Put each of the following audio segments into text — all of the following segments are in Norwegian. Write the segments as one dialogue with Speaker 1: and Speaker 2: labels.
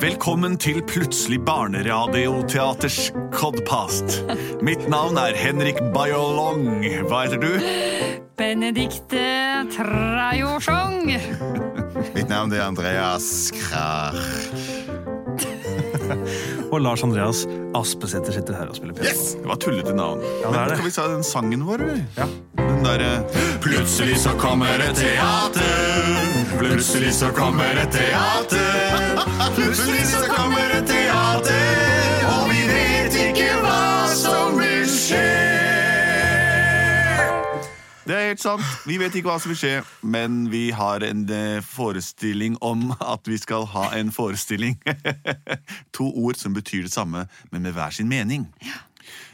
Speaker 1: Velkommen til Plutselig barneradioteaters Codpast. Mitt navn er Henrik Bajolong. Hva heter du?
Speaker 2: Benedikte Trajorsong.
Speaker 3: Mitt navn er Andreas Krach.
Speaker 4: Og Lars Andreas Aspesæter sitter her og spiller piano.
Speaker 3: Yes!
Speaker 1: Det var tullete navn.
Speaker 4: det er
Speaker 1: Men
Speaker 4: det.
Speaker 1: kan vi ta den sangen vår, eller?
Speaker 4: Ja.
Speaker 1: Den derre Plutselig så kommer et teater. Plutselig så kommer et teater. Plutselig så kommer et teater. Og vi vet ikke hva som vil skje. Det er helt sant. Vi vet ikke hva som vil skje, men vi har en eh, forestilling om at vi skal ha en forestilling. to ord som betyr det samme, men med hver sin mening.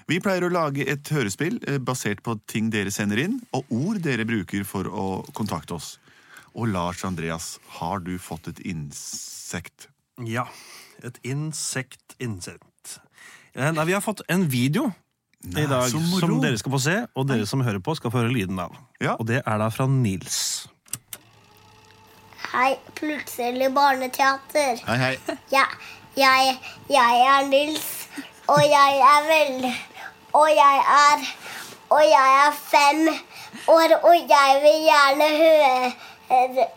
Speaker 1: Vi pleier å lage et hørespill eh, basert på ting dere sender inn, og ord dere bruker for å kontakte oss. Og Lars Andreas, har du fått et insekt?
Speaker 4: Ja. Et insekt insekt. Eh, Nei, vi har fått en video i dag
Speaker 1: så moro.
Speaker 4: som dere skal få se, og dere som hører på, skal få høre lyden av.
Speaker 1: Ja.
Speaker 4: Og det er da fra Nils.
Speaker 5: Hei, plutselig barneteater.
Speaker 3: Hei, hei.
Speaker 5: Ja, jeg, jeg er Nils, og jeg er vel... Og jeg er... Og jeg er fem år, og jeg vil gjerne høre,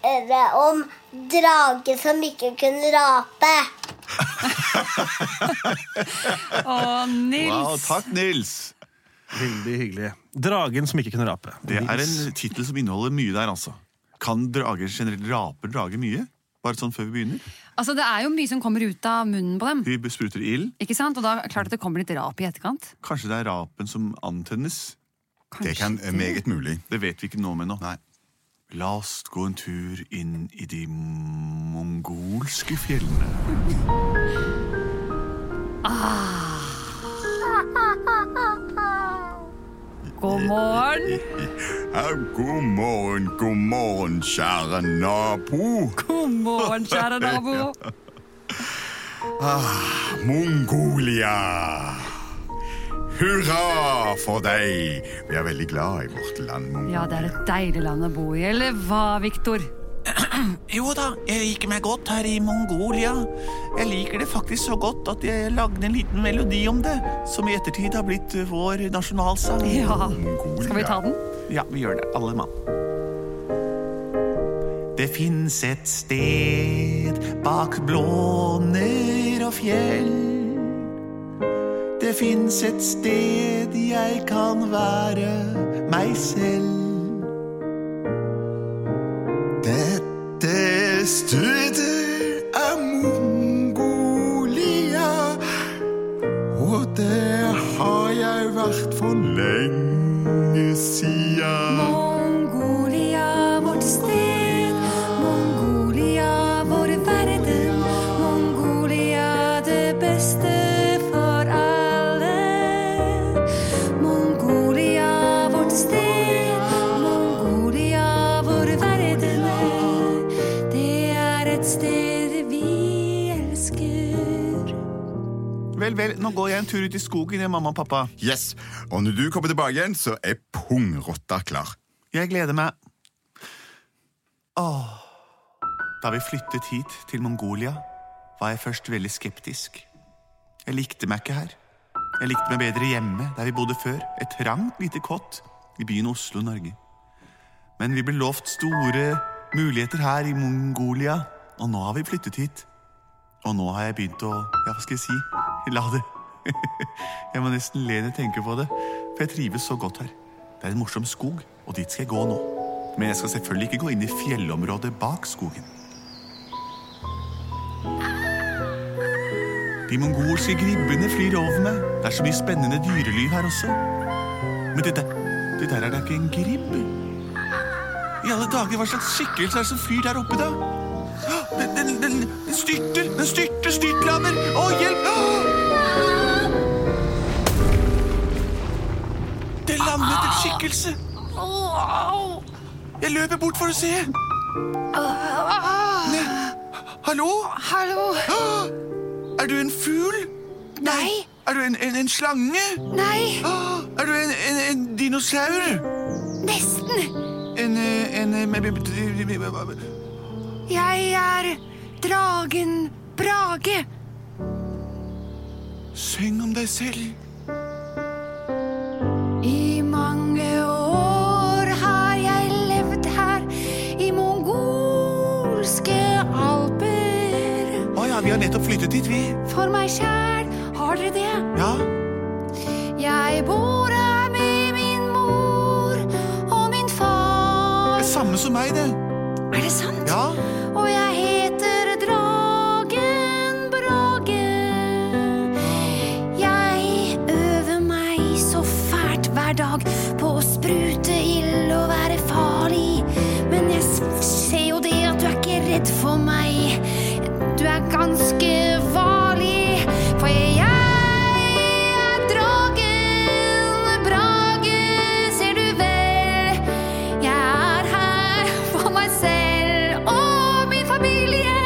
Speaker 5: høre om drage som ikke kunne rape.
Speaker 2: Og
Speaker 1: Wow,
Speaker 2: Nils.
Speaker 1: takk, Nils!
Speaker 4: Veldig hyggelig. Dragen som ikke kunne rape.
Speaker 1: Det er
Speaker 4: Nils.
Speaker 1: en tittel som inneholder mye der, altså. Kan drager generelt raper drager mye? Bare sånn før vi begynner.
Speaker 2: Altså, det er jo mye som kommer ut av munnen på dem.
Speaker 1: De spruter ild.
Speaker 2: Ikke sant? Og da er det klart at det kommer litt rap i etterkant.
Speaker 1: Kanskje det er rapen som antennes?
Speaker 3: Det kan er meget mulig.
Speaker 1: Det vet vi ikke nå med nå.
Speaker 3: Nei.
Speaker 1: La oss gå en tur inn i de mongolske fjellene.
Speaker 2: God morgen.
Speaker 3: Ja, god morgen, god morgen, kjære nabo.
Speaker 2: God morgen, kjære nabo.
Speaker 3: Mongolia. Hurra for deg! Vi er veldig glad i vårt land. Mongolia.
Speaker 2: Ja, det er et deilig land å bo i, eller hva, Viktor?
Speaker 6: Jo da, jeg liker meg godt her i Mongolia. Jeg liker det faktisk så godt at jeg lagde en liten melodi om det, som i ettertid har blitt eh, vår nasjonalsang.
Speaker 2: Ja.
Speaker 3: Mongolia.
Speaker 2: Skal vi ta den?
Speaker 6: Ja, vi gjør det, alle mann. Det fins et sted bak blåner og fjell. Det fins et sted jeg kan være meg selv.
Speaker 3: Dette stedet er Mongolia, og der har jeg vært for lenge sia.
Speaker 2: Mongolia, vårt sted. Mongolia, vår verden. Mongolia, det beste for alle. Mongolia, vårt sted. Mongolia, vår verden. Det er et sted vi elsker.
Speaker 1: Vel, vel, nå går jeg en tur ut i skogen, jeg, mamma og pappa.
Speaker 3: Yes, Og når du kommer tilbake igjen, så er pungrotta klar.
Speaker 1: Jeg gleder meg. Åh. Da vi flyttet hit til Mongolia, var jeg først veldig skeptisk. Jeg likte meg ikke her. Jeg likte meg bedre hjemme, der vi bodde før. Et trangt lite kott i byen Oslo, Norge. Men vi ble lovt store muligheter her i Mongolia, og nå har vi flyttet hit. Og nå har jeg begynt å Ja, hva skal jeg si? La det Jeg må nesten le når jeg tenker på det, for jeg trives så godt her. Det er en morsom skog, og dit skal jeg gå nå. Men jeg skal selvfølgelig ikke gå inn i fjellområdet bak skogen. De mongolske gribbene flyr over meg. Det er så mye spennende dyreliv her også. Men det der, det der er da ikke en gribb? I alle dager, hva slags skikkelse er det som flyr der oppe, da? Den, den, den, den styrter! Den styrter! Styrtlander! Å, hjelp! Å! Det landet en skikkelse! Jeg løper bort for å se. Ne, hallo?
Speaker 2: Hallo.
Speaker 1: Er du en fugl?
Speaker 2: Nei.
Speaker 1: Er du en, en, en slange?
Speaker 2: Nei.
Speaker 1: Å, Er du en, en, en dinosaur?
Speaker 2: Nesten.
Speaker 1: En, eh, en, eh, me- me- me- me- me- me-
Speaker 2: Jeg er dragen Bra. mage.
Speaker 1: Syng om deg selv.
Speaker 2: I mange år har jeg levd her i mongolske alper.
Speaker 1: Å ja, vi har nettopp flyttet dit, vi.
Speaker 2: For meg sjæl har dere det.
Speaker 1: Ja.
Speaker 2: Jeg bor her med min mor og min
Speaker 1: Det
Speaker 2: far.
Speaker 1: er samme som meg, det.
Speaker 2: Er det sant?
Speaker 1: Ja.
Speaker 2: Og jeg heter Dragen Brage. Jeg øver meg så fælt hver dag på å sprute ild og være farlig. Men jeg s- ser jo det at du er ikke redd for meg. Du er ganske varlig, for jeg er dragen Brage, ser du vel. Jeg er her for meg selv og min familie.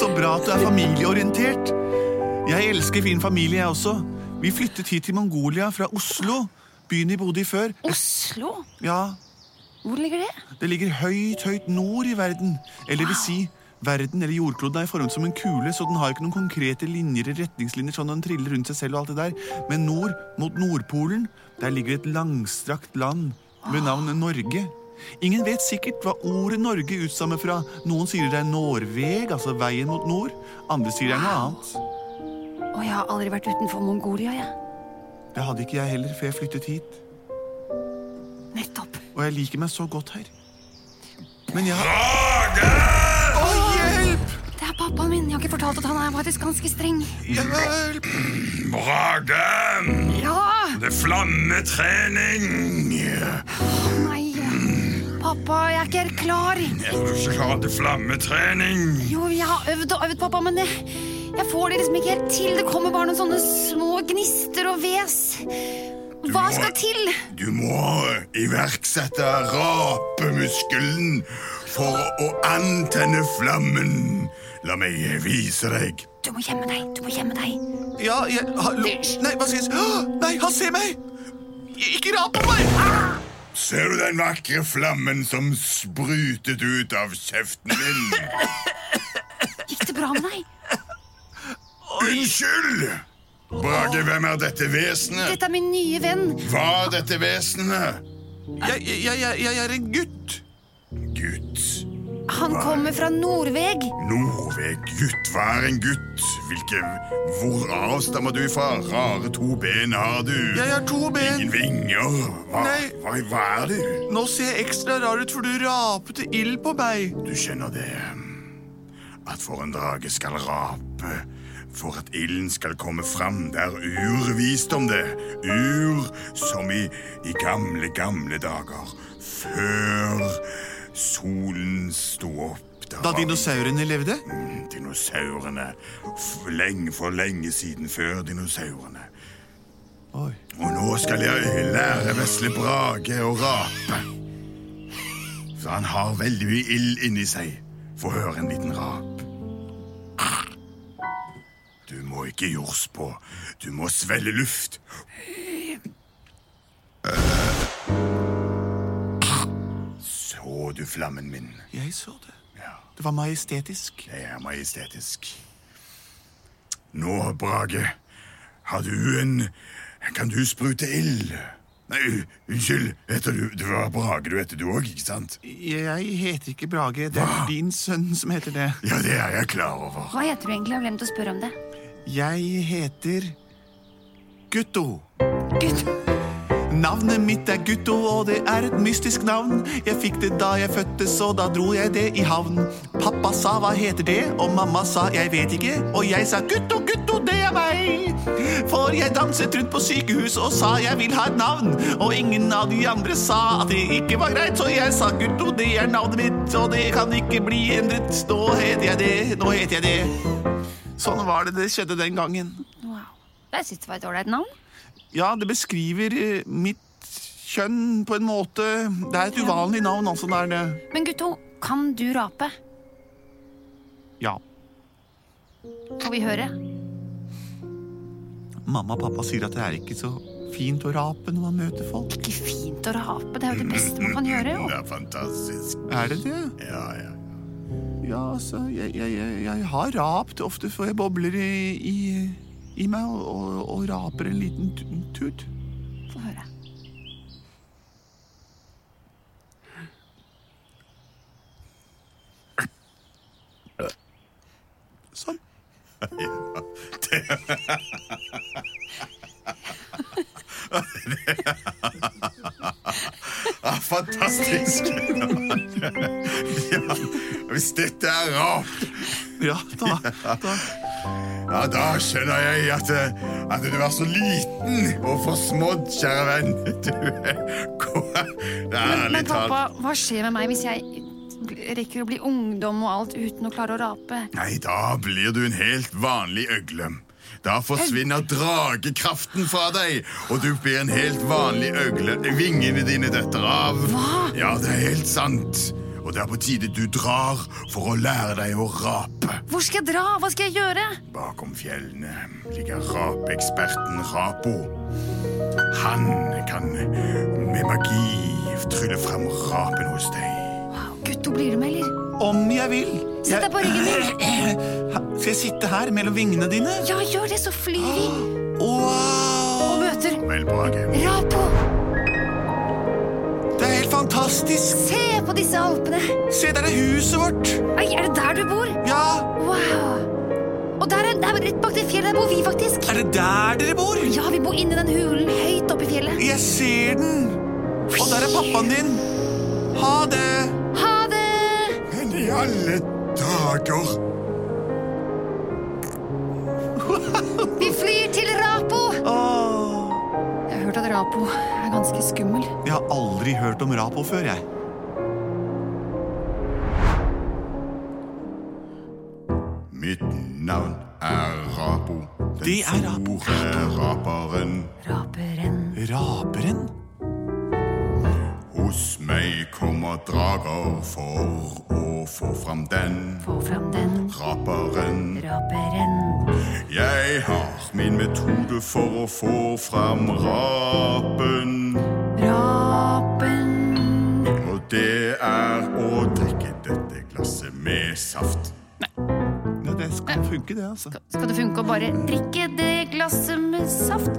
Speaker 1: Så bra at du er familieorientert. Jeg elsker fin familie, jeg også. Vi flyttet hit til Mongolia fra Oslo, byen vi bodde i før.
Speaker 2: Oslo?
Speaker 1: Ja,
Speaker 2: Hvor ligger det?
Speaker 1: det ligger høyt, høyt nord i verden. Eller vil si, verden eller jordkloden er formet som en kule, så den har ikke noen konkrete linjer eller retningslinjer sånn at den triller rundt seg selv og alt det der. Men nord, mot Nordpolen, der ligger et langstrakt land med navn Norge. Ingen vet sikkert hva ordet Norge utstammer fra. Noen sier det er Norveg, altså veien mot nord. Andre sier det er noe annet.
Speaker 2: Å, jeg har aldri vært utenfor Mongolia, jeg.
Speaker 1: Det hadde ikke jeg heller før jeg flyttet hit.
Speaker 2: Nettopp.
Speaker 1: Og jeg liker meg så godt her. Men jeg har
Speaker 2: Det er pappaen min. Jeg har ikke fortalt at han er faktisk ganske streng.
Speaker 1: hjelp!
Speaker 3: Brage!
Speaker 2: Ja!
Speaker 3: Det er flammetrening!
Speaker 2: Nei. Pappa, jeg er ikke klar.
Speaker 3: Er du ikke klar til flammetrening?
Speaker 2: Jo, jeg har øvd og øvd, pappa, men jeg, jeg får det liksom ikke helt til. Det kommer bare noen sånne små gnister og ves. Hva skal til?
Speaker 3: Du må iverksette rapemuskelen for å antenne flammen. La meg vise deg.
Speaker 2: Du må gjemme deg. Du må gjemme deg.
Speaker 1: Ja, jeg Hallo? Nei, hva sies? Åh, Nei, han ser meg! Ikke rap på meg!
Speaker 3: Ser du den vakre flammen som sprutet ut av kjeften min?
Speaker 2: Gikk det bra med deg?
Speaker 3: Unnskyld! Brage, hvem er dette vesenet?
Speaker 2: Dette er min nye venn.
Speaker 3: Hva er dette vesenet?
Speaker 1: Jeg, jeg, jeg, jeg er en gutt.
Speaker 3: Gutt.
Speaker 2: Han kommer fra Nordveg.
Speaker 3: Norveg, gutt. Hva er en gutt? Hvilke Hvor avstammer du fra? Rare to ben har du.
Speaker 1: Jeg har to ben.
Speaker 3: Ingen vinger. Hva,
Speaker 1: Nei.
Speaker 3: hva, hva er du?
Speaker 1: Nå ser jeg ekstra rar ut, for du rapete ild på meg.
Speaker 3: Du skjønner det. At for en drage skal rape. For at ilden skal komme fram. Det er urvisdom, det. Ur som i, i gamle, gamle dager. Før solen sto opp.
Speaker 1: Da
Speaker 3: var vi-
Speaker 1: dinosaurene levde?
Speaker 3: Mm, Dinosaurene. F- Lenge, for lenge siden. Før dinosaurene.
Speaker 1: Oi.
Speaker 3: Og nå skal jeg lære vesle Brage å rape. For han har veldig mye ild inni seg. Få høre en liten rap. Du må ikke jors på. Du må svelle luft. Eh. Så du flammen min?
Speaker 1: Jeg så det.
Speaker 3: Ja.
Speaker 1: Det var majestetisk.
Speaker 3: Det er majestetisk. Nå, Brage, har du en Kan du sprute ild? Nei, u- unnskyld. Heter du Det var Brage du heter, du òg, ikke sant?
Speaker 1: Jeg heter ikke Brage. Det er
Speaker 3: Hva?
Speaker 1: din sønn som heter det.
Speaker 3: Ja, det er jeg klar over.
Speaker 2: Hva heter du egentlig? Jeg har glemt å spørre om det.
Speaker 1: Jeg heter Gutto.
Speaker 2: Gud.
Speaker 1: Navnet mitt er Gutto, og det er et mystisk navn. Jeg fikk det da jeg fødtes, og da dro jeg det i havn. Pappa sa hva heter det, og mamma sa jeg vet ikke, og jeg sa Gutto, Gutto, det er meg. For jeg danset rundt på sykehus og sa jeg vil ha et navn, og ingen av de andre sa at det ikke var greit, så jeg sa Gutto, det er navnet mitt, og det kan ikke bli endret. Nå heter jeg det, nå heter jeg det. Sånn var det det skjedde den gangen.
Speaker 2: Wow. Jeg syns det var et ålreit navn.
Speaker 1: Ja, det beskriver eh, mitt kjønn på en måte. Det er et uvanlig navn, altså. Det er det.
Speaker 2: Men Gutto, kan du rape?
Speaker 1: Ja.
Speaker 2: Får vi høre?
Speaker 1: Mamma og pappa sier at det er ikke så fint å rape når man møter folk.
Speaker 2: Ikke fint å rape. Det er jo det beste man kan gjøre. jo.
Speaker 3: Det er fantastisk.
Speaker 1: Er det det?
Speaker 3: Ja, ja.
Speaker 1: ja, altså, jeg, jeg, jeg, jeg har rapt. Ofte får jeg bobler i, i, i meg og, og, og raper en liten tu- tut.
Speaker 2: Få høre.
Speaker 1: Sånn.
Speaker 3: Ja, Ah, fantastisk! ja, hvis dette er rap,
Speaker 1: Ja, da, da.
Speaker 3: ja, da skjønner jeg at, eh, at du er så liten og forsmådd, kjære venn. Du er Det er
Speaker 2: Men
Speaker 3: ærlig talt
Speaker 2: pappa, hva skjer med meg hvis jeg bl- rekker å bli ungdom og alt uten å klare å rape?
Speaker 3: Nei, da blir du en helt vanlig øgle. Da forsvinner dragekraften fra deg, og du blir en helt vanlig øgle. Vingene dine detter av.
Speaker 2: Hva?
Speaker 3: Ja, det er helt sant. Og det er på tide du drar for å lære deg å rape.
Speaker 2: Hvor skal jeg dra? Hva skal jeg gjøre?
Speaker 3: Bakom fjellene ligger rapeeksperten Rapo. Han kan med magi trylle frem rapen hos deg.
Speaker 2: Gutto, blir du med, eller?
Speaker 1: Om jeg vil.
Speaker 2: Sett deg på ryggen min.
Speaker 1: Skal jeg sitte her mellom vingene dine?
Speaker 2: Ja, gjør det, så flyr vi.
Speaker 1: Wow!
Speaker 2: Og møter
Speaker 3: Vel, Brage.
Speaker 2: Rapo.
Speaker 1: Det er helt fantastisk!
Speaker 2: Se på disse alpene.
Speaker 1: Se, der er huset vårt!
Speaker 2: Oi, er det der du bor?
Speaker 1: Ja!
Speaker 2: Wow. Og der er, der er rett bak det fjellet. Der bor vi, faktisk.
Speaker 1: Er det der dere bor?
Speaker 2: Ja, vi bor inni den hulen høyt oppe i fjellet.
Speaker 1: Jeg ser den! Og der er pappaen din! Ha det!
Speaker 2: Ha det!
Speaker 3: Men i alle dager
Speaker 2: Vi flyr til Rapo.
Speaker 1: Åh.
Speaker 2: Jeg har hørt at Rapo er ganske skummel.
Speaker 1: Jeg har aldri hørt om Rapo før, jeg.
Speaker 3: Mitt navn er Rapo. Den
Speaker 1: Det er Rapo.
Speaker 3: store raperen.
Speaker 2: Raperen.
Speaker 1: Raperen?
Speaker 3: Hos meg kommer drager for å få fram den
Speaker 2: Få fram den.
Speaker 3: raperen.
Speaker 2: Raperen.
Speaker 3: Jeg har min metode for å få fram rapen.
Speaker 2: Rapen.
Speaker 3: Og det er å drikke dette glasset med saft.
Speaker 1: Ja, det skal funke, det, altså.
Speaker 2: Skal det funke å bare drikke det glasset med saft?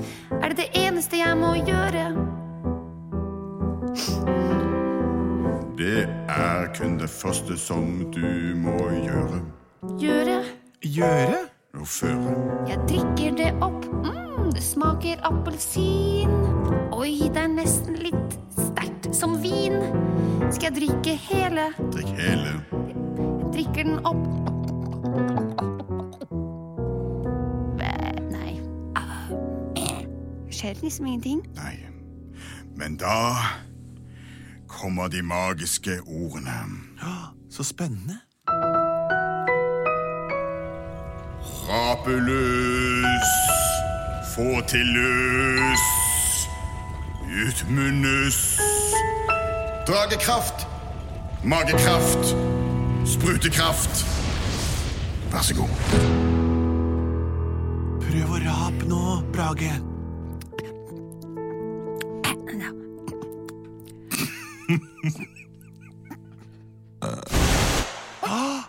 Speaker 2: Er det det eneste jeg må gjøre?
Speaker 3: Det er kun det første som du må gjøre.
Speaker 2: Gjøre?
Speaker 1: Gjøre?
Speaker 3: Å føre.
Speaker 2: Jeg drikker det opp. Mm, det smaker appelsin. Oi, det er nesten litt sterkt som vin. Skal jeg drikke hele?
Speaker 3: Drikk hele.
Speaker 2: Drikker den opp. Ve- Nei. Ah, eh. Skjer det liksom ingenting?
Speaker 3: Nei. Men da kommer de magiske ordene.
Speaker 1: Så spennende.
Speaker 3: Rapeløs. Få til løs. Utmunnes. Dragekraft. Magekraft. Sprutekraft. Vær så god.
Speaker 1: Prøv å rape nå, Brage. Ah,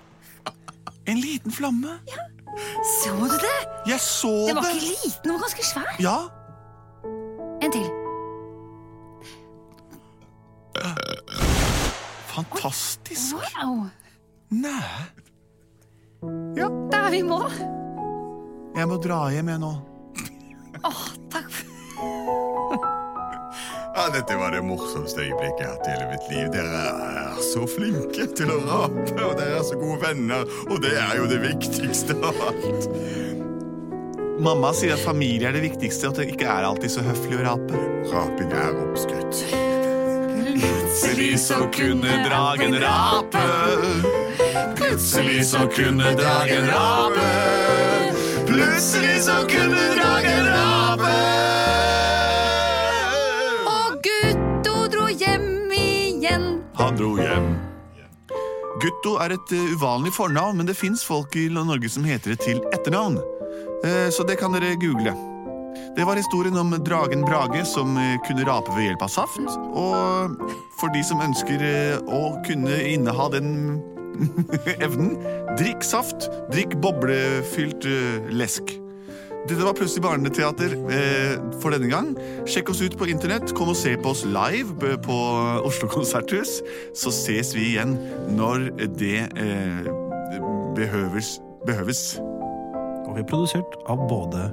Speaker 1: En liten flamme.
Speaker 2: Så du det?
Speaker 1: Jeg så
Speaker 2: Den var
Speaker 1: det.
Speaker 2: ikke liten, den var ganske svær.
Speaker 1: Ja.
Speaker 2: En til.
Speaker 1: Fantastisk.
Speaker 2: Wow!
Speaker 1: Nei.
Speaker 2: Da er vi i mål.
Speaker 1: Jeg må dra hjem, jeg nå.
Speaker 2: Åh, takk for
Speaker 3: Ja, dette var det morsomste øyeblikket jeg har hatt i hele mitt liv. Dere er så flinke til å rape, og dere er så gode venner. Og det er jo det viktigste av alt.
Speaker 1: Mamma sier at familie er det viktigste, og at det ikke er alltid så høflig å rape.
Speaker 3: Raping er oppskrytt.
Speaker 1: Plutselig så kunne dragen rape. Plutselig så kunne dragen rape. Plutselig så kunne dragen rape.
Speaker 2: Og Gutto dro hjem igjen.
Speaker 1: Han dro hjem. Gutto er et eh, uvanlig fornavn, men det fins folk i Norge som heter det til etternavn. Eh, Så det kan dere google. Det var historien om dragen Brage som eh, kunne rape ved hjelp av saft. Og for de som ønsker eh, å kunne inneha den
Speaker 3: Evnen drikk saft, drikk boblefylt eh, lesk. Dette var Plutselig barneteater eh, for denne gang. Sjekk oss ut på internett. Kom og se på oss live b- på Oslo Konserthus. Så ses vi igjen når det eh, behøves. behøves.
Speaker 4: Og vi er produsert av både